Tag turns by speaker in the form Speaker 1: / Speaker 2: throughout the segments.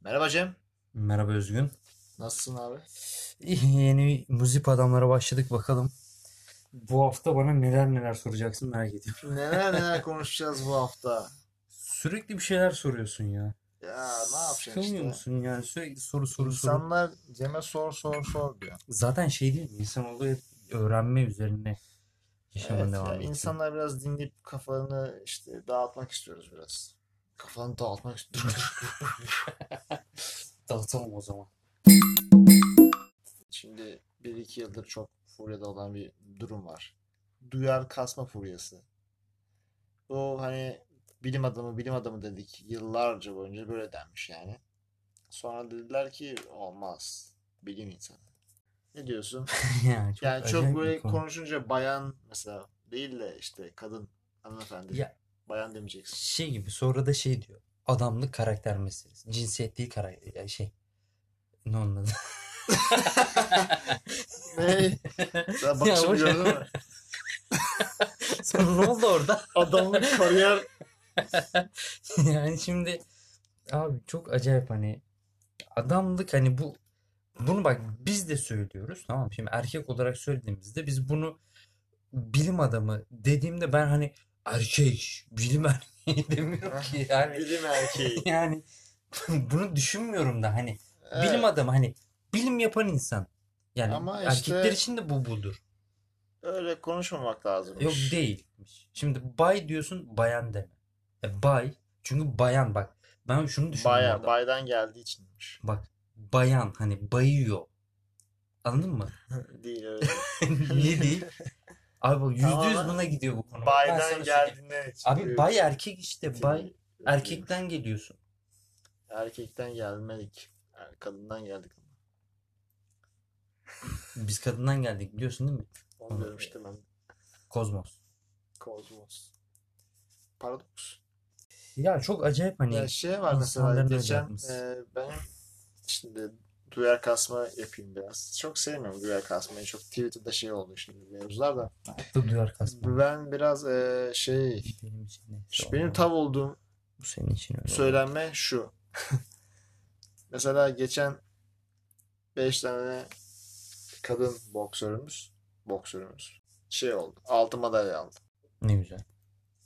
Speaker 1: Merhaba Cem.
Speaker 2: Merhaba Özgün.
Speaker 1: Nasılsın abi?
Speaker 2: İh, Yeni muzip adamlara başladık bakalım. Bu hafta bana neler neler soracaksın merak ediyorum.
Speaker 1: Neler neler konuşacağız bu hafta.
Speaker 2: Sürekli bir şeyler soruyorsun ya.
Speaker 1: Ya ne yapacaksın
Speaker 2: Sıkılmıyor
Speaker 1: işte.
Speaker 2: musun yani sürekli soru soru soru.
Speaker 1: İnsanlar Cem'e sor sor sor diyor.
Speaker 2: Zaten şey değil mi? İnsan oluyor öğrenme üzerine yaşama
Speaker 1: Evet,
Speaker 2: devam
Speaker 1: ya
Speaker 2: ediyor.
Speaker 1: insanlar biraz dinleyip kafalarını işte dağıtmak istiyoruz biraz. Kafanı dağıtmak istiyoruz.
Speaker 2: Dağıtalım o zaman.
Speaker 1: Şimdi 1-2 yıldır çok furyada olan bir durum var. Duyar kasma furyası. Bu hani bilim adamı bilim adamı dedik yıllarca boyunca böyle denmiş yani. Sonra dediler ki olmaz. Bilim insanı. Ne diyorsun?
Speaker 2: yani çok,
Speaker 1: Yani çok
Speaker 2: acayip bir
Speaker 1: böyle
Speaker 2: konu.
Speaker 1: konuşunca bayan mesela değil de işte kadın hanımefendi.
Speaker 2: Ya
Speaker 1: Bayan demeyeceksin.
Speaker 2: şey gibi sonra da şey diyor. Adamlık karakter meselesi. Cinsiyet değil karakter. Yani şey. Ne onun adı?
Speaker 1: Ne? Sen
Speaker 2: Ya
Speaker 1: bakışımı
Speaker 2: boş ver.
Speaker 1: gördün mü?
Speaker 2: Sonra ne oldu orada?
Speaker 1: Adamlık kariyer.
Speaker 2: Yani şimdi abi çok acayip hani adamlık hani bu bunu bak biz de söylüyoruz tamam mı? Şimdi erkek olarak söylediğimizde biz bunu bilim adamı dediğimde ben hani erkek bilim erkeği demiyorum ki yani
Speaker 1: Bilim erkeği.
Speaker 2: yani bunu düşünmüyorum da hani
Speaker 1: Evet.
Speaker 2: bilim adamı hani bilim yapan insan yani
Speaker 1: Ama işte-
Speaker 2: erkekler için de bu budur.
Speaker 1: Öyle konuşmamak lazımmış.
Speaker 2: Yok değilmiş. Şimdi bay diyorsun bayan deme. E, bay çünkü bayan bak. Ben şunu düşündüm
Speaker 1: Baya,
Speaker 2: orada.
Speaker 1: baydan geldiği içinmiş.
Speaker 2: Bak bayan hani bayıyor. Anladın mı?
Speaker 1: Değil öyle.
Speaker 2: Niye değil? Abi bak yüzde yüz
Speaker 1: Tamamen
Speaker 2: buna gidiyor bu konu. Bak, ben sana şey
Speaker 1: Baydan
Speaker 2: söyleyeyim.
Speaker 1: geldiğine
Speaker 2: Abi bay erkek işte bay
Speaker 1: erkekten
Speaker 2: erkekten geliyorsun.
Speaker 1: erkekten gelmedik. Er- Kadından geldik.
Speaker 2: Biz kadından geldik biliyorsun değil mi?
Speaker 1: Onu diyorum işte ben.
Speaker 2: Kozmos.
Speaker 1: Kozmos. Paradoks.
Speaker 2: Ya çok acayip hani
Speaker 1: Ya şey var mesela
Speaker 2: insanların öyle
Speaker 1: geçen
Speaker 2: yapması.
Speaker 1: e, ben şimdi duyar kasma yapayım biraz. Çok sevmiyorum duyar kasmayı. Çok Twitter'da şey oldu şimdi mevzular da.
Speaker 2: da duyar kasma.
Speaker 1: Ben biraz e, şey
Speaker 2: Benim için neyse
Speaker 1: şu benim
Speaker 2: olmaz.
Speaker 1: tav olduğum
Speaker 2: bu senin için öyle. olmaz.
Speaker 1: söylenme şu. Mesela geçen 5 tane kadın boksörümüz, boksörümüz şey oldu. Altı madalya aldı.
Speaker 2: Ne güzel.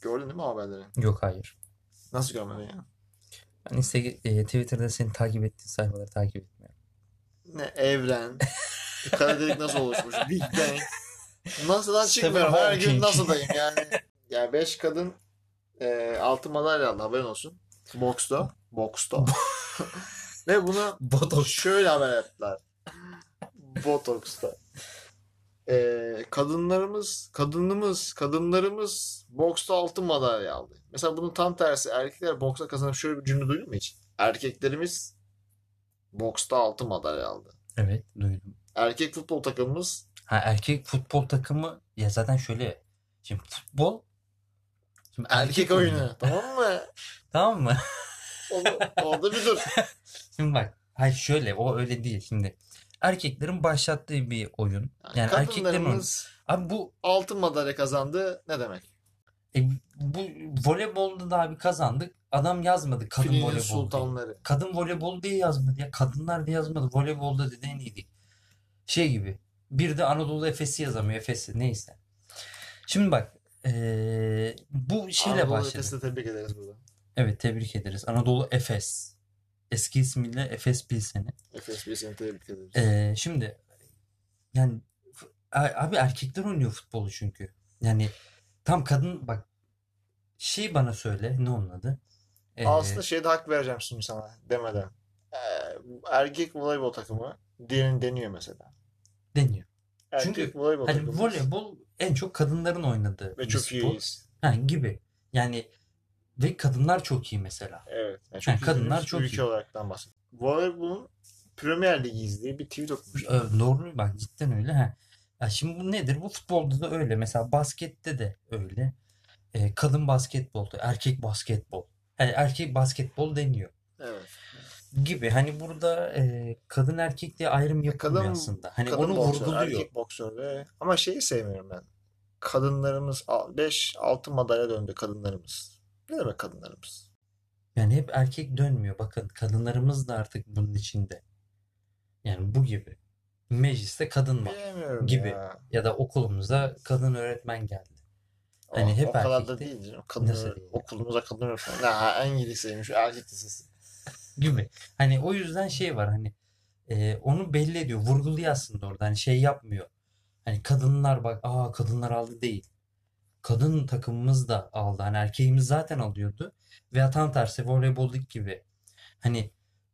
Speaker 1: Gördün değil mi o haberleri?
Speaker 2: Yok hayır.
Speaker 1: Nasıl görmedin ya?
Speaker 2: Ben Insta- e, Twitter'da seni takip ettiğin sayfaları takip etmiyorum.
Speaker 1: Ne evren, kara delik nasıl oluşmuş, Big Bang. Nasıl lan
Speaker 2: Stephen
Speaker 1: çıkmıyorum, her gün
Speaker 2: Hawking.
Speaker 1: NASA'dayım yani. Yani 5 kadın e, altı madalya aldı haberin olsun. Boksta. Boksta. Ve bunu
Speaker 2: Botoş.
Speaker 1: şöyle haber ettiler. Botoks'ta. Ee, kadınlarımız, kadınımız, kadınlarımız boksta altın madalya aldı. Mesela bunun tam tersi erkekler boksa kazanıp şöyle bir cümle duydun mu hiç? Erkeklerimiz boksta altın madalya aldı.
Speaker 2: Evet duydum.
Speaker 1: Erkek futbol takımımız
Speaker 2: Ha erkek futbol takımı ya zaten şöyle şimdi futbol şimdi
Speaker 1: erkek, oyunu. Tamam mı?
Speaker 2: Tamam mı?
Speaker 1: Orada, orada bir dur.
Speaker 2: Şimdi bak hayır şöyle o öyle değil şimdi. Erkeklerin başlattığı bir oyun. Yani erkeklerin oyunu.
Speaker 1: kadınlarımız
Speaker 2: Abi bu
Speaker 1: altın madalya kazandı. Ne demek?
Speaker 2: e, bu voleybolda da abi kazandık. Adam yazmadı kadın
Speaker 1: Filinin
Speaker 2: voleybol diye.
Speaker 1: sultanları.
Speaker 2: Kadın voleybol diye yazmadı ya. Kadınlar diye yazmadı. Voleybolda dedi en iyiydik. Şey gibi. Bir de Anadolu Efes'i yazamıyor. Efes'i neyse. Şimdi bak eee, bu şeyle
Speaker 1: Anadolu
Speaker 2: başladı.
Speaker 1: Efes'i de tebrik ederiz burada.
Speaker 2: Evet tebrik ederiz. Anadolu Efes. Eski ismiyle Efes Pilsen'i.
Speaker 1: Efes bir seni tebrik ederiz.
Speaker 2: Ee, şimdi yani f- a- abi erkekler oynuyor futbolu çünkü. Yani tam kadın bak şey bana söyle ne onun adı? Ee,
Speaker 1: Aslında şey şeyde hak vereceğim şimdi sana demeden. Ee, erkek voleybol takımı diğerini deniyor mesela.
Speaker 2: deniyor.
Speaker 1: Erkek
Speaker 2: Çünkü
Speaker 1: voleybol
Speaker 2: Hani
Speaker 1: takımı
Speaker 2: voleybol en çok kadınların oynadığı
Speaker 1: ve
Speaker 2: bir
Speaker 1: çok
Speaker 2: spor.
Speaker 1: iyiyiz.
Speaker 2: Ha, gibi. Yani ve kadınlar çok iyi mesela.
Speaker 1: Evet. Yani
Speaker 2: Yani
Speaker 1: çok
Speaker 2: kadınlar
Speaker 1: iyiyiz.
Speaker 2: çok
Speaker 1: ülke
Speaker 2: iyi.
Speaker 1: olaraktan bahsediyorum. Voleybolun Premier Ligi'yiz diye bir tweet
Speaker 2: Ee,
Speaker 1: okumuştum.
Speaker 2: Doğru bak cidden öyle. Ha. Ya şimdi bu nedir? Bu futbolda da öyle. Mesela baskette de öyle. Ee, kadın basketbolda, erkek basketbol. Yani erkek basketbol deniyor
Speaker 1: Evet.
Speaker 2: gibi. Hani burada e, kadın erkek diye ayrım yapılmıyor
Speaker 1: E, kadın-
Speaker 2: aslında. Hani
Speaker 1: Kadın
Speaker 2: onu
Speaker 1: boksör,
Speaker 2: vurguluyor.
Speaker 1: erkek boksör ve ama şeyi sevmiyorum ben. Kadınlarımız 5 altın madalya döndü kadınlarımız. Ne demek kadınlarımız?
Speaker 2: Yani hep erkek dönmüyor. Bakın kadınlarımız da artık bunun içinde. Yani bu gibi. Mecliste kadın var.
Speaker 1: Bilemiyorum
Speaker 2: Gibi.
Speaker 1: ya.
Speaker 2: Ya da okulumuza kadın öğretmen geldi.
Speaker 1: O,
Speaker 2: Hani hep
Speaker 1: o kadar da
Speaker 2: erkekti.
Speaker 1: değil canım. Kadın,
Speaker 2: Nasıl
Speaker 1: öğre-
Speaker 2: değil?
Speaker 1: okulumuza kadın öğretmen. Ha, en iyi liseymiş. Erkek lisesi.
Speaker 2: Gibi. Hani o yüzden şey var hani e, onu belli ediyor. Vurguluyor aslında orada. Hani şey yapmıyor. Hani kadınlar bak aa kadınlar aldı değil. Kadın takımımız da aldı. Hani erkeğimiz zaten alıyordu. Veya tam tersi voleyboldaki gibi. Hani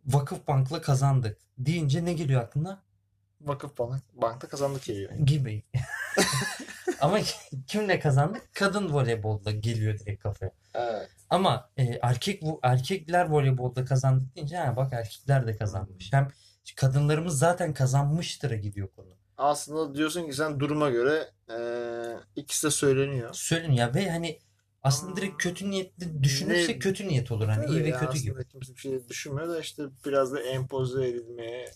Speaker 2: Vakıfbank'la kazandık deyince ne geliyor aklına?
Speaker 1: Vakıf bana, bankta kazandık geliyor.
Speaker 2: Gibi. Ama kimle kazandık? Kadın voleybolda geliyor direkt kafaya.
Speaker 1: Evet.
Speaker 2: Ama e, erkek bu erkekler voleybolda kazandı deyince ha bak erkekler de kazanmış. Hem kadınlarımız zaten kazanmıştır'a gidiyor konu.
Speaker 1: Aslında diyorsun ki sen duruma göre eee ikisi de söyleniyor.
Speaker 2: Söyleyeyim ya ve hani aslında direkt kötü niyetli düşünürse
Speaker 1: Ne-
Speaker 2: kötü niyet olur hani iyi
Speaker 1: Tabii
Speaker 2: ve
Speaker 1: ya,
Speaker 2: kötü gibi.
Speaker 1: aslında kimse bir şey düşünmüyor da işte biraz da empoze edilmeye.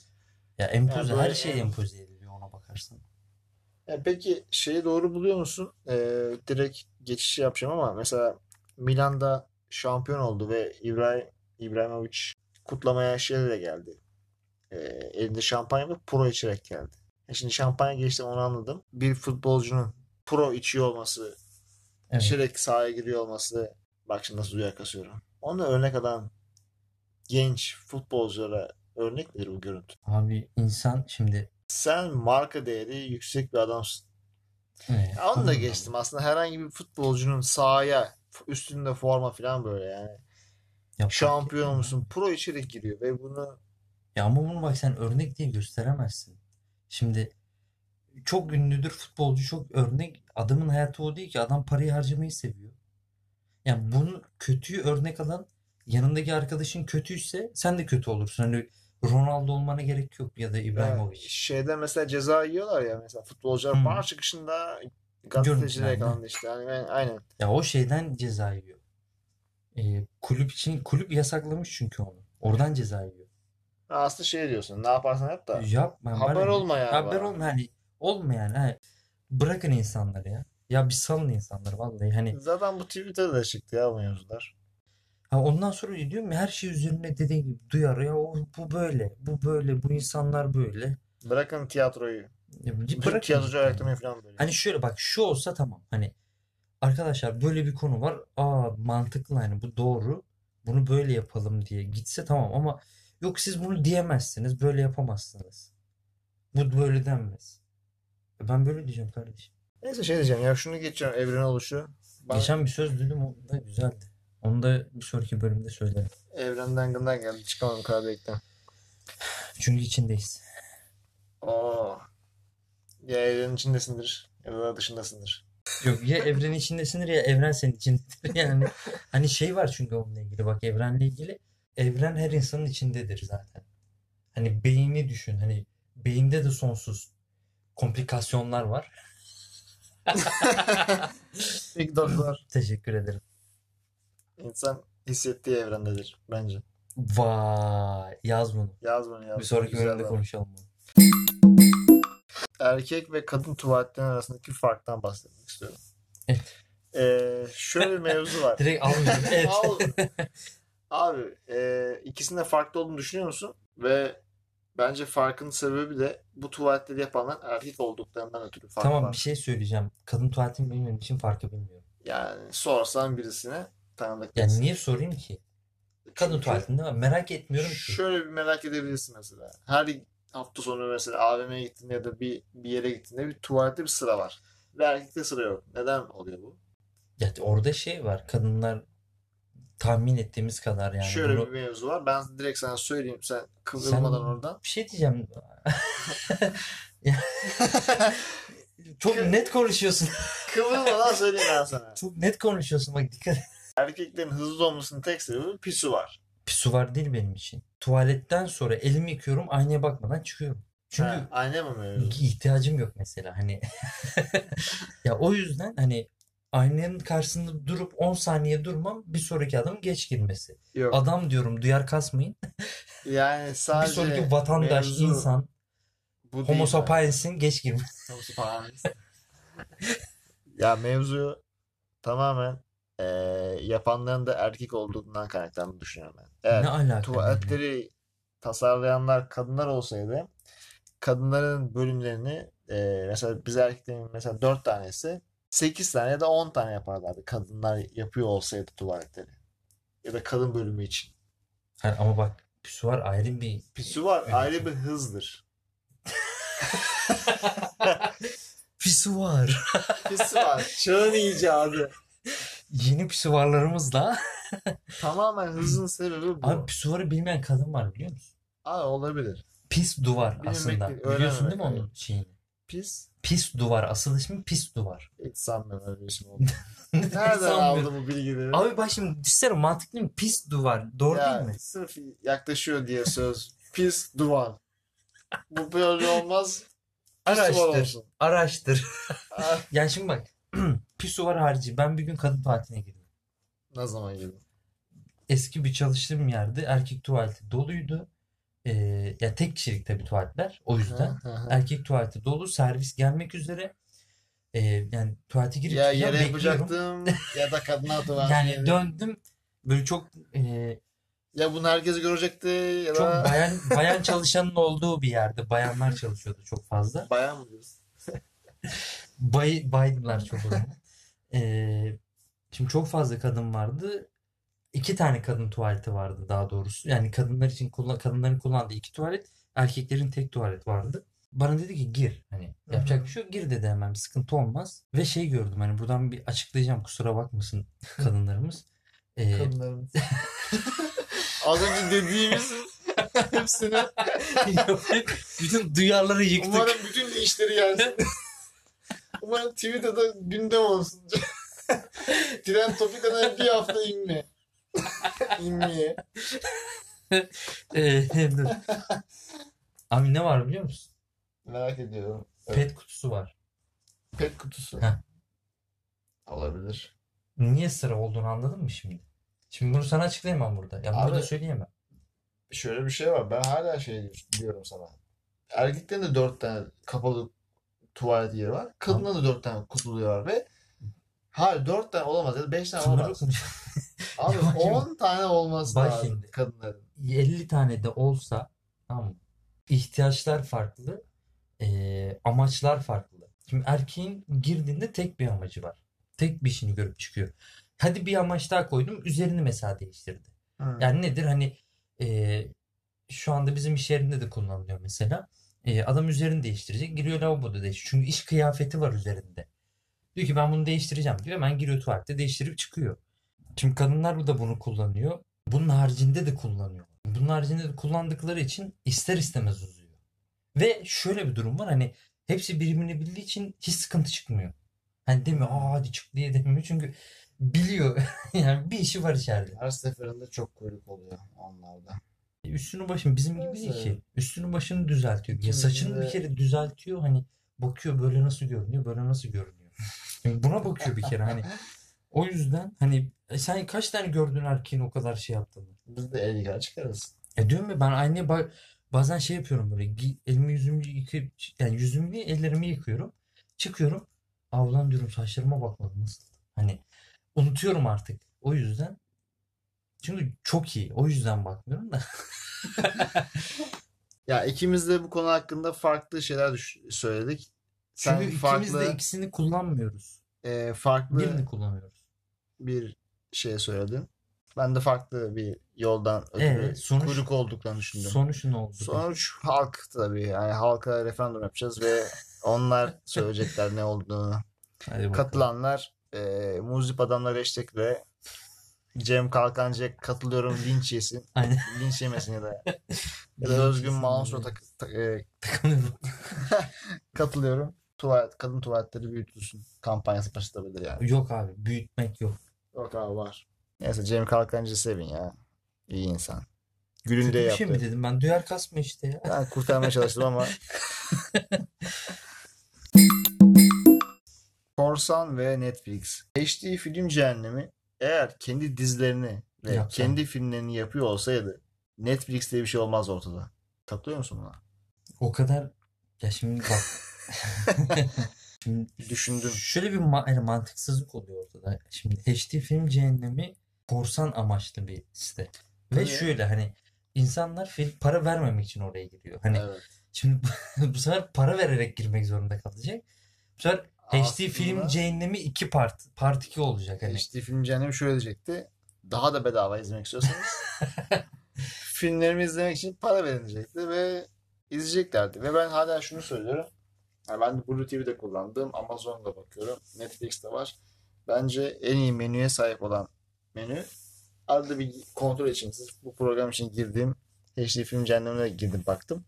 Speaker 2: Ya empoze
Speaker 1: Ya
Speaker 2: her
Speaker 1: böyle Şey-
Speaker 2: şey
Speaker 1: em-
Speaker 2: empoze ediliyor ona bakarsan.
Speaker 1: Ya E, peki şeyi doğru buluyor musun? Eee direkt geçiş yapacağım ama mesela Milan'da şampiyon oldu ve İbrahim İbrahimovic kutlamaya şeyle de geldi. Eee, elinde şampanya ve pro içerek geldi. Ya şimdi şampanya geçti onu anladım. Bir futbolcunun pro içiyor olması
Speaker 2: Evet.
Speaker 1: içerek sahaya giriyor olması bak şimdi nasıl duyar kasıyorum. Onu örnek alan genç futbolculara örnek midir bu görüntü?
Speaker 2: Abi insan şimdi
Speaker 1: Sen marka değeri yüksek bir adamsın.
Speaker 2: e,
Speaker 1: Ya onu da
Speaker 2: anladın mı?
Speaker 1: geçtim aslında herhangi bir futbolcunun sahaya üstünde forma falan böyle yani.
Speaker 2: Ya fark etmiyor
Speaker 1: Şampiyon
Speaker 2: ya.
Speaker 1: musun? Pro içerik giriyor ve bunu
Speaker 2: Ya ama bunu bak sen örnek diye gösteremezsin. Şimdi çok ünlüdür futbolcu çok örnek. Adamın hayatı o değil ki adam parayı harcamayı seviyor. Yani bunu kötüyü örnek alan yanındaki arkadaşın kötüyse sen de kötü olursun. Hani Ronaldo olmana gerek yok ya da
Speaker 1: ya
Speaker 2: İbrahimovic.
Speaker 1: e,
Speaker 2: Hmm.
Speaker 1: şeyde mesela ceza yiyorlar ya mesela futbolcular
Speaker 2: Hı.
Speaker 1: bar çıkışında gazetecilere
Speaker 2: Görüntülenme.
Speaker 1: yakalandı işte. Yani ben- aynen.
Speaker 2: Ya o şeyden ceza yiyor. Ee, kulüp için kulüp yasaklamış çünkü onu. Oradan ceza yiyor.
Speaker 1: Aslında şey diyorsun ne yaparsan yap da
Speaker 2: Yapma bana
Speaker 1: haber
Speaker 2: ne?
Speaker 1: olma yani
Speaker 2: Haber
Speaker 1: bana.
Speaker 2: olma hani olma yani. Hani bırakın insanları ya. Ya bir salın insanları vallahi hani.
Speaker 1: Zaten bu Twitter'da da çıktı ya bu mevzular.
Speaker 2: Ha ondan sonra diyorum ya her şey üzerine dediğin gibi duyar ya o, bu böyle bu böyle bu insanlar böyle.
Speaker 1: Bırakın tiyatroyu.
Speaker 2: Ya bir
Speaker 1: Bütün
Speaker 2: bırakın
Speaker 1: tiyatrocu
Speaker 2: cidden ya.
Speaker 1: ayaklanmayı falan böyle.
Speaker 2: Hani şöyle bak şu olsa tamam hani arkadaşlar böyle bir konu var. Aa mantıklı hani bu doğru. Bunu böyle yapalım diye gitse tamam ama yok siz bunu diyemezsiniz böyle yapamazsınız. Bu böyle denmez. E Ben böyle diyeceğim kardeşim.
Speaker 1: Neyse şey diyeceğim ya şunu geçeceğim evren oluşu. Ben
Speaker 2: Geçen bir söz duydum o da güzeldi. Onu da bir sonraki bölümde söylerim.
Speaker 1: evrenden gından geldi çıkamam kahvelikten.
Speaker 2: Çünkü içindeyiz.
Speaker 1: Oo. Ya evrenin içindesindir ya da dışındasındır.
Speaker 2: Yok ya evren içindesindir ya evren senin içindedir. Yani hani şey var çünkü onunla ilgili bak evrenle ilgili evren her insanın içindedir zaten. Hani beyni düşün hani beyinde de sonsuz komplikasyonlar var.
Speaker 1: Big Dog'lar
Speaker 2: Teşekkür ederim.
Speaker 1: insan hissettiği evrendedir bence.
Speaker 2: Vay yaz bunu.
Speaker 1: Yaz bunu yaz.
Speaker 2: Bir sonraki
Speaker 1: Güzel
Speaker 2: bölümde
Speaker 1: laf.
Speaker 2: konuşalım bunu.
Speaker 1: Erkek ve kadın tuvaletlerin arasındaki farktan bahsetmek istiyorum.
Speaker 2: Evet.
Speaker 1: Ee, şöyle bir mevzu var.
Speaker 2: Direkt almıyorum. Evet.
Speaker 1: Al- Abi e, ikisinin de farklı olduğunu düşünüyor musun? Ve bence farkın sebebi de bu tuvaletleri yapanlar erkek olduklarından ötürü fark
Speaker 2: Tamam bir
Speaker 1: var.
Speaker 2: şey söyleyeceğim. Kadın tuvaletini bilmediğim için farkı bilmiyorum.
Speaker 1: Yani sorsan birisine tanıdık
Speaker 2: Yani
Speaker 1: birisi.
Speaker 2: niye sorayım ki? Kadın
Speaker 1: Çünkü
Speaker 2: tuvaletinde var. Merak etmiyorum ki.
Speaker 1: şöyle bir merak edebilirsin mesela. Her hafta sonu mesela AVM'ye gittiğinde ya da bir, bir yere gittiğinde bir tuvalette bir sıra var. Ve erkekte sıra yok. Neden oluyor bu?
Speaker 2: Ya orada şey var. Kadınlar tahmin ettiğimiz kadar yani
Speaker 1: Şöyle bir
Speaker 2: bunu
Speaker 1: mevzu var. Ben direkt sana söyleyeyim. Sen
Speaker 2: sen
Speaker 1: kıvrılmadan oradan.
Speaker 2: bir şey diyeceğim. Ya, Çok net konuşuyorsun.
Speaker 1: Kıvrılmadan söyleyeyim ben sana.
Speaker 2: Çok net konuşuyorsun bak dikkat. et.
Speaker 1: Erkeklerin hızlı olmasının tek sebebi pisu var.
Speaker 2: Pisu var değil benim için. Tuvaletten sonra elimi yıkıyorum, aynaya bakmadan çıkıyorum.
Speaker 1: Ha,
Speaker 2: Çünkü
Speaker 1: ayna mı mevzu?
Speaker 2: ihtiyacım yok mesela hani. Ya o yüzden hani aynanın karşısında durup 10 saniye durmam bir sonraki adamın geç girmesi.
Speaker 1: Yok.
Speaker 2: Adam diyorum duyar kasmayın.
Speaker 1: Yani
Speaker 2: Bir
Speaker 1: sadece
Speaker 2: sonraki vatandaş,
Speaker 1: mevzu
Speaker 2: insan,
Speaker 1: bu
Speaker 2: homo
Speaker 1: değil. ha.
Speaker 2: sapiens'in geç girmesi.
Speaker 1: Homo sapiens. ya mevzu tamamen e, yapanların da erkek olduğundan kaynaklandığını düşünüyorum ben. Eğer
Speaker 2: Ne alaka yani?
Speaker 1: tuvaletleri tasarlayanlar kadınlar olsaydı kadınların bölümlerini e, mesela biz erkeklerin mesela 4 tanesi 8 tane ya da 10 tane yaparlardı kadınlar yapıyor olsaydı tuvaletleri ya da kadın bölümü için.
Speaker 2: Ha, ama bak pisuar ayrı bir
Speaker 1: Pisuvar ayrı
Speaker 2: öğretim.
Speaker 1: bir hızdır.
Speaker 2: Pisuar.
Speaker 1: Pisuvar çağın icadı.
Speaker 2: Yeni pisuvarlarımızla.
Speaker 1: Tamamen hızın sebebi
Speaker 2: Abi
Speaker 1: bu.
Speaker 2: pisuarı bilmeyen kadın var biliyor musun?
Speaker 1: Aa, olabilir.
Speaker 2: Pis duvar
Speaker 1: Bilmemek
Speaker 2: aslında.
Speaker 1: değil,
Speaker 2: Biliyorsun değil
Speaker 1: öğrenmemek.
Speaker 2: mi
Speaker 1: Evet.
Speaker 2: onun şeyini?
Speaker 1: Pis
Speaker 2: Pis duvar. Asıl ismi pis duvar.
Speaker 1: hiç sanmıyorum öyle bir isim olduğunu. Nereden
Speaker 2: Sanmıyorum.
Speaker 1: aldı bu bilgileri?
Speaker 2: Abi bak şimdi düşünsene mantıklı mı? Pis duvar. Doğru değil
Speaker 1: Ya
Speaker 2: mi?
Speaker 1: sırf yaklaşıyor diye söz. Pis duvar. Bu böyle olmaz. Pis duvar
Speaker 2: Araştır.
Speaker 1: olsun.
Speaker 2: Araştır.
Speaker 1: Ah,
Speaker 2: Yani şimdi bak. pis duvar harici. Ben bir gün kadın tuvaletine girdim.
Speaker 1: ne zaman gelin?
Speaker 2: Eski bir çalıştığım yerde erkek tuvaleti doluydu. Ee, ya tek kişilik tabii tuvaletler. O yüzden. Erkek tuvaleti dolu. Servis gelmek üzere. Ee, yani tuvalete girip
Speaker 1: Ya
Speaker 2: çıkacağım,
Speaker 1: yere
Speaker 2: bekliyorum.
Speaker 1: yapacaktım ya da kadına duvar.
Speaker 2: Yani döndüm. Böyle çok e,
Speaker 1: Ya bunu herkes görecekti ya
Speaker 2: çok
Speaker 1: da
Speaker 2: bayan bayan çalışanın olduğu bir yerde bayanlar çalışıyordu çok fazla.
Speaker 1: bayan mı diyorsun?
Speaker 2: Bay, baydılar çok o zaman. Ee, şimdi çok fazla kadın vardı. İki tane kadın tuvaleti vardı daha doğrusu. Yani kadınlar için kullan kadınların kullandığı iki tuvalet, erkeklerin tek tuvalet vardı. Bana dedi ki gir hani
Speaker 1: Hı
Speaker 2: yapacak
Speaker 1: hı.
Speaker 2: bir şey yok gir dedi hemen bir sıkıntı olmaz. Ve şey gördüm hani buradan bir açıklayacağım kusura bakmasın kadınlarımız. Ee,
Speaker 1: Kadınların. Az önce dediğimiz hepsini
Speaker 2: bütün duyarları yıktık.
Speaker 1: umarım bütün işleri yersin. Umarım Twitter'da gündem olsun. Tren Topika'dan bir hafta inme. İnmeye.
Speaker 2: Ee, dur. Abi ne var biliyor musun?
Speaker 1: Merak ediyorum. Evet.
Speaker 2: Pet kutusu var.
Speaker 1: Pet kutusu.
Speaker 2: Heh.
Speaker 1: Olabilir.
Speaker 2: Niye sıra olduğunu anladın mı şimdi? Şimdi bunu sana açıklayamam burada. Ya burada
Speaker 1: Abi-
Speaker 2: söyleyemem.
Speaker 1: Şöyle bir şey var. Ben hala şey diyorum sana. Erkeklerin de dört tane kapalı tuvalet yeri var. Kadınların da dört tane kutulu yeri var ve hayır dört tane olamaz ya da beş tane
Speaker 2: Bunları
Speaker 1: olamaz.
Speaker 2: konuşalım.
Speaker 1: Abi
Speaker 2: Ya bak şimdi-
Speaker 1: 10 tane olması
Speaker 2: Bak
Speaker 1: lazım
Speaker 2: şimdi.
Speaker 1: kadınların.
Speaker 2: 50 tane de olsa tamam mı? ihtiyaçlar farklı, ee, amaçlar farklı. Şimdi erkeğin girdiğinde tek bir amacı var. Tek bir işini görüp çıkıyor. Hadi bir amaç daha koydum. Üzerini mesela değiştirdi. Yani nedir hani e, şu anda bizim iş yerinde de kullanılıyor mesela. E, adam üzerini değiştirecek. Giriyor lavaboda değiştiriyor. Çünkü iş kıyafeti var üzerinde. Diyor ki ben bunu değiştireceğim diyor. Hemen giriyor tuvalette değiştirip çıkıyor. Şimdi kadınlar da bunu kullanıyor. Bunun haricinde de kullanıyor. Bunun haricinde de kullandıkları için ister istemez uzuyor. Ve şöyle bir durum var hani hepsi birbirini bildiği için hiç sıkıntı çıkmıyor. Hani demiyor
Speaker 1: Hmm.
Speaker 2: aa hadi çık diye demiyor çünkü biliyor yani bir işi var içeride.
Speaker 1: Her seferinde çok kuyruk oluyor onlarda.
Speaker 2: E, Üstünü başını bizim gibi değil
Speaker 1: Neyse.
Speaker 2: ki. Üstünü başını düzeltiyor. Ya saçını bir
Speaker 1: Bizde-
Speaker 2: kere düzeltiyor hani bakıyor böyle nasıl görünüyor böyle nasıl görünüyor. Şimdi buna bakıyor bir kere hani o yüzden hani e, sen kaç tane gördün erkeğin o kadar şey yaptığını?
Speaker 1: Biz de el yıkar çıkarız.
Speaker 2: E diyorum ya ben aynaya ba- bazen şey yapıyorum böyle gi- elimi yüzümü yıkayıp yani yüzümü değil, ellerimi yıkıyorum. Çıkıyorum. Aa ulan diyorum saçlarıma bakmadım nasıl? Hani unutuyorum artık. O yüzden çünkü çok iyi. O yüzden bakmıyorum da.
Speaker 1: Ya ikimiz de bu konu hakkında farklı şeyler düş- söyledik. Sen
Speaker 2: Çünkü ikimiz de
Speaker 1: farklı
Speaker 2: ikisini kullanmıyoruz.
Speaker 1: e, farklı
Speaker 2: Birini kullanıyoruz.
Speaker 1: bir şey söyledin. Ben de farklı bir yoldan ötürü
Speaker 2: Evet, sonuç
Speaker 1: kuyruk olduklarını düşündüm.
Speaker 2: sonuç ne oldu?
Speaker 1: Sonuç halk tabii. Yani halka referandum yapacağız ve onlar söyleyecekler ne olduğunu.
Speaker 2: Hadi bakalım.
Speaker 1: Katılanlar e, Muzip Adamlar hashtag'le Cem Kalkancı'ya katılıyorum linç yesin.
Speaker 2: Aynen.
Speaker 1: Linç yemesin ya da, ya da
Speaker 2: Linç
Speaker 1: Özgün
Speaker 2: yesin
Speaker 1: Mansur'a
Speaker 2: abi.
Speaker 1: tak- tak- e,
Speaker 2: Takılıyorum.
Speaker 1: katılıyorum. Tuvalet, kadın tuvaletleri büyütülsün kampanyası başlatabilir yani.
Speaker 2: Yok abi büyütmek yok.
Speaker 1: Yok abi var. Neyse Cem Kalkancı sevin ya. İyi insan. Gününde
Speaker 2: Kötü bir şey mi
Speaker 1: yaptı.
Speaker 2: dedim ben? Duyar kasma işte ya.
Speaker 1: Ben kurtarmaya çalıştım ama Korsan ve Netflix. HD film cehennemi eğer kendi dizilerini ve
Speaker 2: Yapsa.
Speaker 1: kendi filmlerini yapıyor olsaydı Netflix diye bir şey olmaz ortada. Katılıyor musun buna?
Speaker 2: O kadar ya şimdi bak. Şimdi
Speaker 1: Düşündüm.
Speaker 2: Şöyle bir ma- yani mantıksızlık oluyor ortada. Şimdi HD film cehennemi korsan amaçlı bir site. Ve
Speaker 1: Tabii.
Speaker 2: şöyle hani insanlar film para vermemek için oraya giriyor. Hani
Speaker 1: Evet.
Speaker 2: şimdi bu sefer para vererek girmek zorunda kalacak. Bu sefer HD film
Speaker 1: Aslında-
Speaker 2: cehennemi iki part part 2 olacak hani.
Speaker 1: HD film cehennemi şöyle diyecekti. Daha da bedava izlemek istiyorsanız filmlerimi izlemek için para verilecekti ve izleyeceklerdi. Ve ben hala şunu söylüyorum. Yani ben de Blue TV'de kullandım. Amazon'da bakıyorum. Netflix'te var. Bence en iyi menüye sahip olan menü. Arada bir kontrol için sırf bu program için girdiğim HD film cehennemine girdim baktım.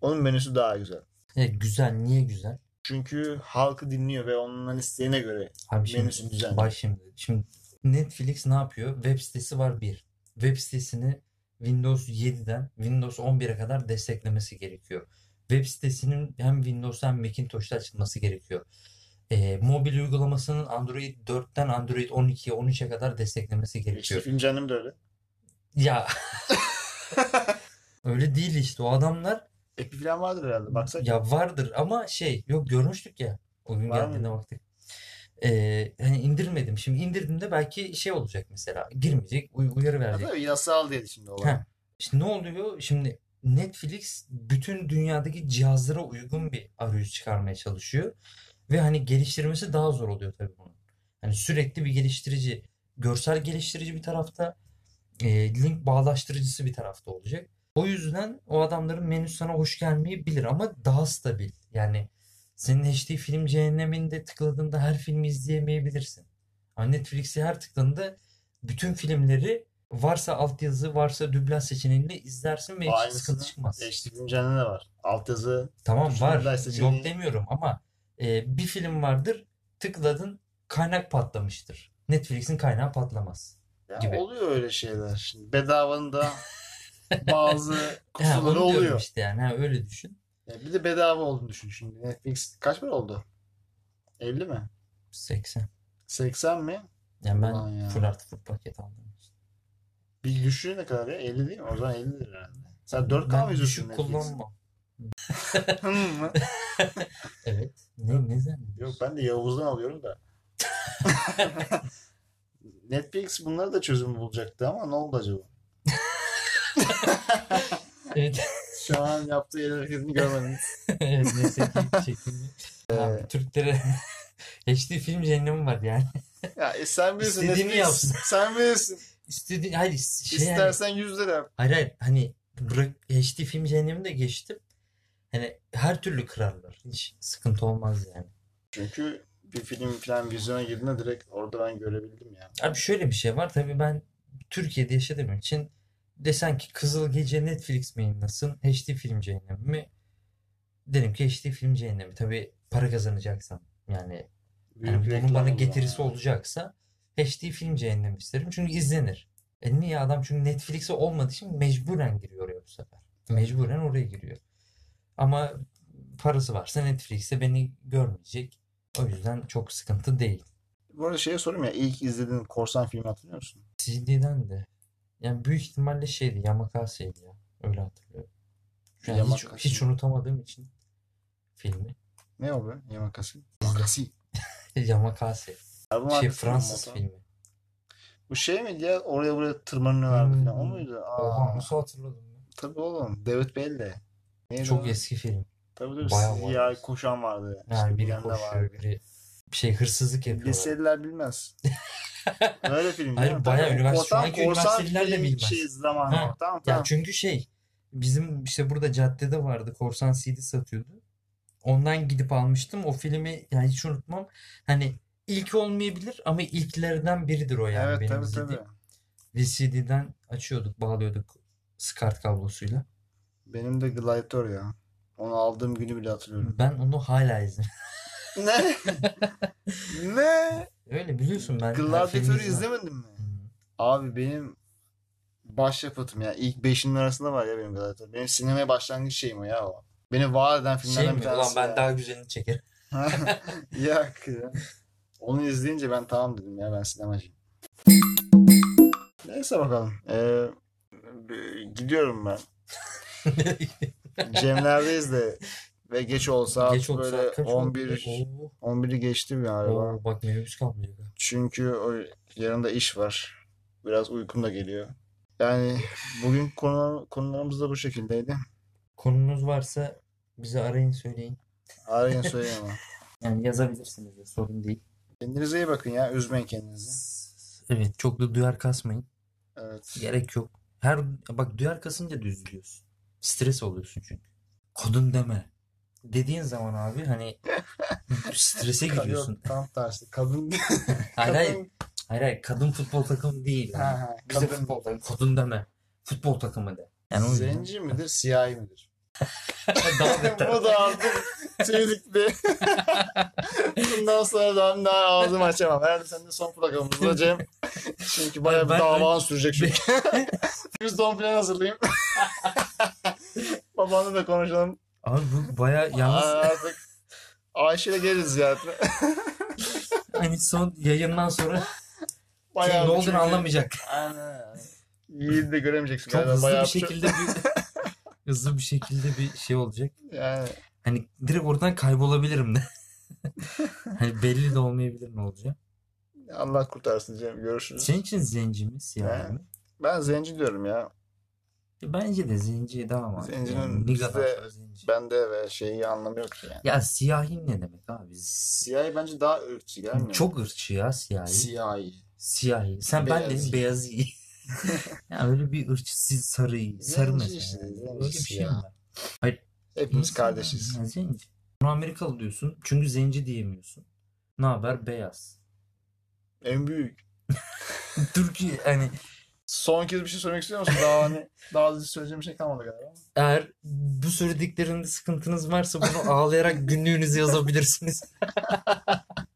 Speaker 1: Onun menüsü daha güzel.
Speaker 2: Ya güzel niye güzel?
Speaker 1: Çünkü halkı dinliyor ve onların isteğine göre
Speaker 2: Abi şimdi
Speaker 1: Menüsü düzenli.
Speaker 2: bak şimdi. Şimdi Netflix ne yapıyor? Web sitesi var bir. Web sitesini Windows 7'den Windows 11'e kadar desteklemesi gerekiyor. Web sitesinin hem Windows hem Macintosh'ta açılması gerekiyor. Ee, mobil uygulamasının Android 4'ten Android 12'ye 13'e kadar desteklemesi
Speaker 1: HD
Speaker 2: gerekiyor.
Speaker 1: film cehennemi de öyle.
Speaker 2: Ya öyle değil işte o adamlar
Speaker 1: Epi falan vardır herhalde. Baksak
Speaker 2: ya vardır ama şey yok görmüştük ya o gün
Speaker 1: Var
Speaker 2: geldiğinde
Speaker 1: mıydı?
Speaker 2: baktık. Ee, hani indirmedim. Şimdi indirdiğimde belki şey olacak mesela girmeyecek uy- uyarı
Speaker 1: Ya
Speaker 2: verecek.
Speaker 1: tabii yasal değil şimdi olay.
Speaker 2: Heh. İşte ne oluyor? Şimdi Netflix bütün dünyadaki cihazlara uygun bir arayüz çıkarmaya çalışıyor. Ve hani geliştirmesi daha zor oluyor tabii bunun. Hani sürekli bir geliştirici, görsel geliştirici bir tarafta, e, link bağdaştırıcısı bir tarafta olacak. O yüzden o adamların menüsü sana hoş gelmeyebilir ama daha stabil. Yani senin HD film cehenneminde tıkladığında her filmi izleyemeyebilirsin. Ama Netflix'e her tıkladığında bütün filmleri varsa altyazı varsa dublaj seçeneğiyle izlersin ve hiç
Speaker 1: Aynısını
Speaker 2: sıkıntı çıkmaz.
Speaker 1: HD güncelleme de var. Altyazı
Speaker 2: Tamam
Speaker 1: Tuşlu
Speaker 2: var.
Speaker 1: dublaj
Speaker 2: Yok
Speaker 1: seçeneği.
Speaker 2: demiyorum ama e, bir film vardır. Tıkladın kaynak patlamıştır. Netflix'in kaynağı patlamaz.
Speaker 1: ya
Speaker 2: Gibi.
Speaker 1: oluyor öyle şeyler. Şimdi bedavanın da bazı
Speaker 2: Ha, onu
Speaker 1: kusurları
Speaker 2: diyorum
Speaker 1: oluyor.
Speaker 2: işte yani ha, öyle düşün.
Speaker 1: Ya bir de bedava olduğunu düşün şimdi. Netflix kaç para oldu? 50 mi?
Speaker 2: 80.
Speaker 1: 80 mi?
Speaker 2: Yani ben
Speaker 1: Ulan ya.
Speaker 2: full artı full paket aldım.
Speaker 1: Bir düşüğü ne kadar ya? 50 değil mi? O zaman 50 lira herhalde. Sen 4K
Speaker 2: Ben
Speaker 1: mı izliyorsun
Speaker 2: düşük
Speaker 1: Netflix'i?
Speaker 2: kullanmam.
Speaker 1: Hı mı?
Speaker 2: Evet. Ne, ne zannediyorsun?
Speaker 1: Yok ben de Yavuz'dan alıyorum da. Netflix bunlara da çözüm bulacaktı ama ne oldu acaba?
Speaker 2: Evet.
Speaker 1: Şu an yaptığı el hareketini görmedim.
Speaker 2: evet neyse ki bir şekilde.
Speaker 1: Ee,
Speaker 2: Abi, Türklere HD film cehennemi var yani.
Speaker 1: Ya e, sen bilirsin
Speaker 2: İstediğini
Speaker 1: Netflix.
Speaker 2: yapsın.
Speaker 1: Sen bilirsin.
Speaker 2: İstediğin hayır şey yani-
Speaker 1: İstersen 100 lira yap.
Speaker 2: Hayır hayır hani bırak HD film cehennemi de geçtim. Hani her türlü kırarlar. Hiç sıkıntı olmaz yani.
Speaker 1: Çünkü bir film falan vizyona girdiğinde direkt orada ben görebildim ya.
Speaker 2: Abi şöyle bir şey var. Tabii ben Türkiye'de yaşadığım için desen ki Kızıl Gece Netflix mi yayınlasın? HD film cehennemi mi? Derim ki HD film cehennemi. Tabii para kazanacaksan yani
Speaker 1: Büyük
Speaker 2: Yani bunun
Speaker 1: reklam
Speaker 2: bana
Speaker 1: o zaman
Speaker 2: getirisi
Speaker 1: ya.
Speaker 2: olacaksa HD film cehennem isterim. Çünkü izlenir. E niye adam çünkü Netflix'e olmadığı için mecburen giriyor oraya bu sefer. Mecburen oraya giriyor. Ama parası varsa Netflix'te beni görmeyecek. O yüzden çok sıkıntı değil.
Speaker 1: Bu arada şeye sorayım ya ilk izlediğin korsan filmi hatırlıyor musun?
Speaker 2: CD'den de yani büyük ihtimalle şeydi Yamakase'ydi ya. Öyle hatırlıyorum. Şu an hiç,
Speaker 1: Yamakasi.
Speaker 2: hiç unutamadığım için filmi.
Speaker 1: Ne o be? Yamakasi. Yamakasi.
Speaker 2: Yamakase.
Speaker 1: Araba
Speaker 2: Şey
Speaker 1: markası
Speaker 2: Fransız
Speaker 1: mı?
Speaker 2: filmi.
Speaker 1: Bu şey miydi ya? Oraya buraya tırmanıyorlardı falan. O
Speaker 2: Hmm.
Speaker 1: muydu? Aa,
Speaker 2: Oha nasıl hatırladım ben?
Speaker 1: Tabii oğlum. David Bell'de. Neydi o?
Speaker 2: Çok eski film.
Speaker 1: Tabii tabii
Speaker 2: Bayağı
Speaker 1: siyah
Speaker 2: vardı.
Speaker 1: koşan vardı.
Speaker 2: Yani
Speaker 1: İşte bir
Speaker 2: biri
Speaker 1: yanda
Speaker 2: koşuyor,
Speaker 1: vardı.
Speaker 2: biri bir şey hırsızlık yapıyorlar.
Speaker 1: Liseliler bilmez. Öyle film değil
Speaker 2: Hayır,
Speaker 1: mi?
Speaker 2: bayağı
Speaker 1: Tabii,
Speaker 2: üniversite-
Speaker 1: korsan-
Speaker 2: şu anki
Speaker 1: korsan
Speaker 2: üniversiteliler de
Speaker 1: film
Speaker 2: bilmez.
Speaker 1: Şey, zamanı
Speaker 2: Ha,
Speaker 1: o. Tamam
Speaker 2: Ya
Speaker 1: tamam.
Speaker 2: çünkü şey bizim işte burada caddede vardı korsan CD satıyordu. Ondan gidip almıştım. O filmi yani hiç unutmam. Hani ilk olmayabilir ama ilklerden biridir o yani
Speaker 1: evet
Speaker 2: benim
Speaker 1: tabii
Speaker 2: izlediğim.
Speaker 1: tabii.
Speaker 2: VCD'den açıyorduk, bağlıyorduk SCART kablosuyla.
Speaker 1: Benim de Gladiator ya. Onu aldığım günü bile hatırlıyorum.
Speaker 2: Ben onu hala izlerim.
Speaker 1: ne? ne?
Speaker 2: Öyle biliyorsun ben her filmi
Speaker 1: Gladiator'u
Speaker 2: izlemem.
Speaker 1: izlemedin mi?
Speaker 2: Hı.
Speaker 1: Abi benim başyapıtım ya. İlk beşinin arasında var ya benim Gladiator. Benim sinemaya başlangıç şeyim o ya o. Beni var eden
Speaker 2: Şey
Speaker 1: filmlerden
Speaker 2: mi?
Speaker 1: bir
Speaker 2: Ulan
Speaker 1: tanesi
Speaker 2: ben
Speaker 1: ya.
Speaker 2: daha güzelini çekerim.
Speaker 1: Yok ya. Onu izleyince ben tamam dedim ya ben sinemacıyım. Neyse bakalım. Ee, gidiyorum ben. Cemler'deyiz de Ve geç olsa
Speaker 2: Geç olsa
Speaker 1: böyle
Speaker 2: kaç oldu?
Speaker 1: 11
Speaker 2: Oo,
Speaker 1: 11'i geçti galiba.
Speaker 2: oo, bak mevzu kalmıyor. ya.
Speaker 1: Çünkü o, yarın da iş var. Biraz uykum da geliyor. Yani bugün konu, konularımız da bu şekildeydi.
Speaker 2: Konunuz varsa bizi arayın söyleyin.
Speaker 1: Arayın söyleyin ama.
Speaker 2: Yani yazabilirsiniz de sorun değil.
Speaker 1: Kendinize iyi bakın ya. Üzmeyin kendinizi.
Speaker 2: Evet çok da duyar kasmayın.
Speaker 1: Evet.
Speaker 2: Gerek yok. Her bak duyar kasınca da üzülüyorsun. Stres oluyorsun çünkü. Kadın deme. Dediğin zaman abi hani strese
Speaker 1: Ka- yok,
Speaker 2: giriyorsun.
Speaker 1: tam tersi. Kadın
Speaker 2: Hayır hayır.
Speaker 1: kadın
Speaker 2: Hayır hayır. Kadın futbol takımı değil.
Speaker 1: ha, ha,
Speaker 2: Bize
Speaker 1: kadın
Speaker 2: futbol takımı. Kadın deme. Futbol takımı de. Yani o yüzden.
Speaker 1: zenci midir, siyahi midir?
Speaker 2: Daha beter.
Speaker 1: Bu da artık çevikli. Bundan sonra da ben daha ağzımı açamam. Herhalde sen de son programımızda Cem. Çünkü bayağı bir
Speaker 2: Ben- ben-
Speaker 1: davan sürecek çünkü. Biz son plan hazırlayayım. Babanla da konuşalım.
Speaker 2: Abi bu baya
Speaker 1: Aa,
Speaker 2: yalnız
Speaker 1: Artık Ayşe'yle geliriz ziyaretine.
Speaker 2: hani son yayından sonra
Speaker 1: Bayağı
Speaker 2: ne
Speaker 1: bir
Speaker 2: olduğunu
Speaker 1: çünkü-
Speaker 2: anlamayacak.
Speaker 1: Aynen. Yiğidi de göremeyeceksin.
Speaker 2: Çok
Speaker 1: galiba.
Speaker 2: hızlı
Speaker 1: Bayağı
Speaker 2: bir şekilde bir hızlı bir şekilde bir şey olacak.
Speaker 1: Yani
Speaker 2: Hani direkt oradan kaybolabilirim de. hani belli de olmayabilir ne olacak.
Speaker 1: Allah kurtarsın Cem. Görüşürüz.
Speaker 2: Senin için zenci mi, siyahi
Speaker 1: Evet.
Speaker 2: mi? E,
Speaker 1: Ben zenci diyorum ya.
Speaker 2: Bence de zenci daha ama.
Speaker 1: Zencinin
Speaker 2: ne
Speaker 1: bizde-
Speaker 2: kadar sonra zenci.
Speaker 1: Bende ve şeyi anlamı yok yani.
Speaker 2: Ya siyahi ne demek abi? S-
Speaker 1: Siyahi bence daha ırkçı gelmiyor mu?
Speaker 2: Çok ırkçı ya siyahi.
Speaker 1: siyahi.
Speaker 2: siyahi. Sen ben dedim
Speaker 1: Beyazi.
Speaker 2: beyazı. ya öyle bir ırkçı siz sarıyı. Sarı
Speaker 1: Zenci
Speaker 2: mesela.
Speaker 1: işte, zenci
Speaker 2: öyle bir şey mi
Speaker 1: siyah.
Speaker 2: var?
Speaker 1: Hepimiz
Speaker 2: İnsan
Speaker 1: kardeşiz.
Speaker 2: ya, zenci. Bunu Amerikalı diyorsun çünkü zenci diyemiyorsun. Ne haber beyaz.
Speaker 1: En büyük.
Speaker 2: Türkiye hani
Speaker 1: Son kez bir şey söylemek istiyor musun? Daha hani daha da söyleyeceğim bir şey kalmadı galiba.
Speaker 2: Eğer bu söylediklerinde sıkıntınız varsa bunu ağlayarak günlüğünüze yazabilirsiniz.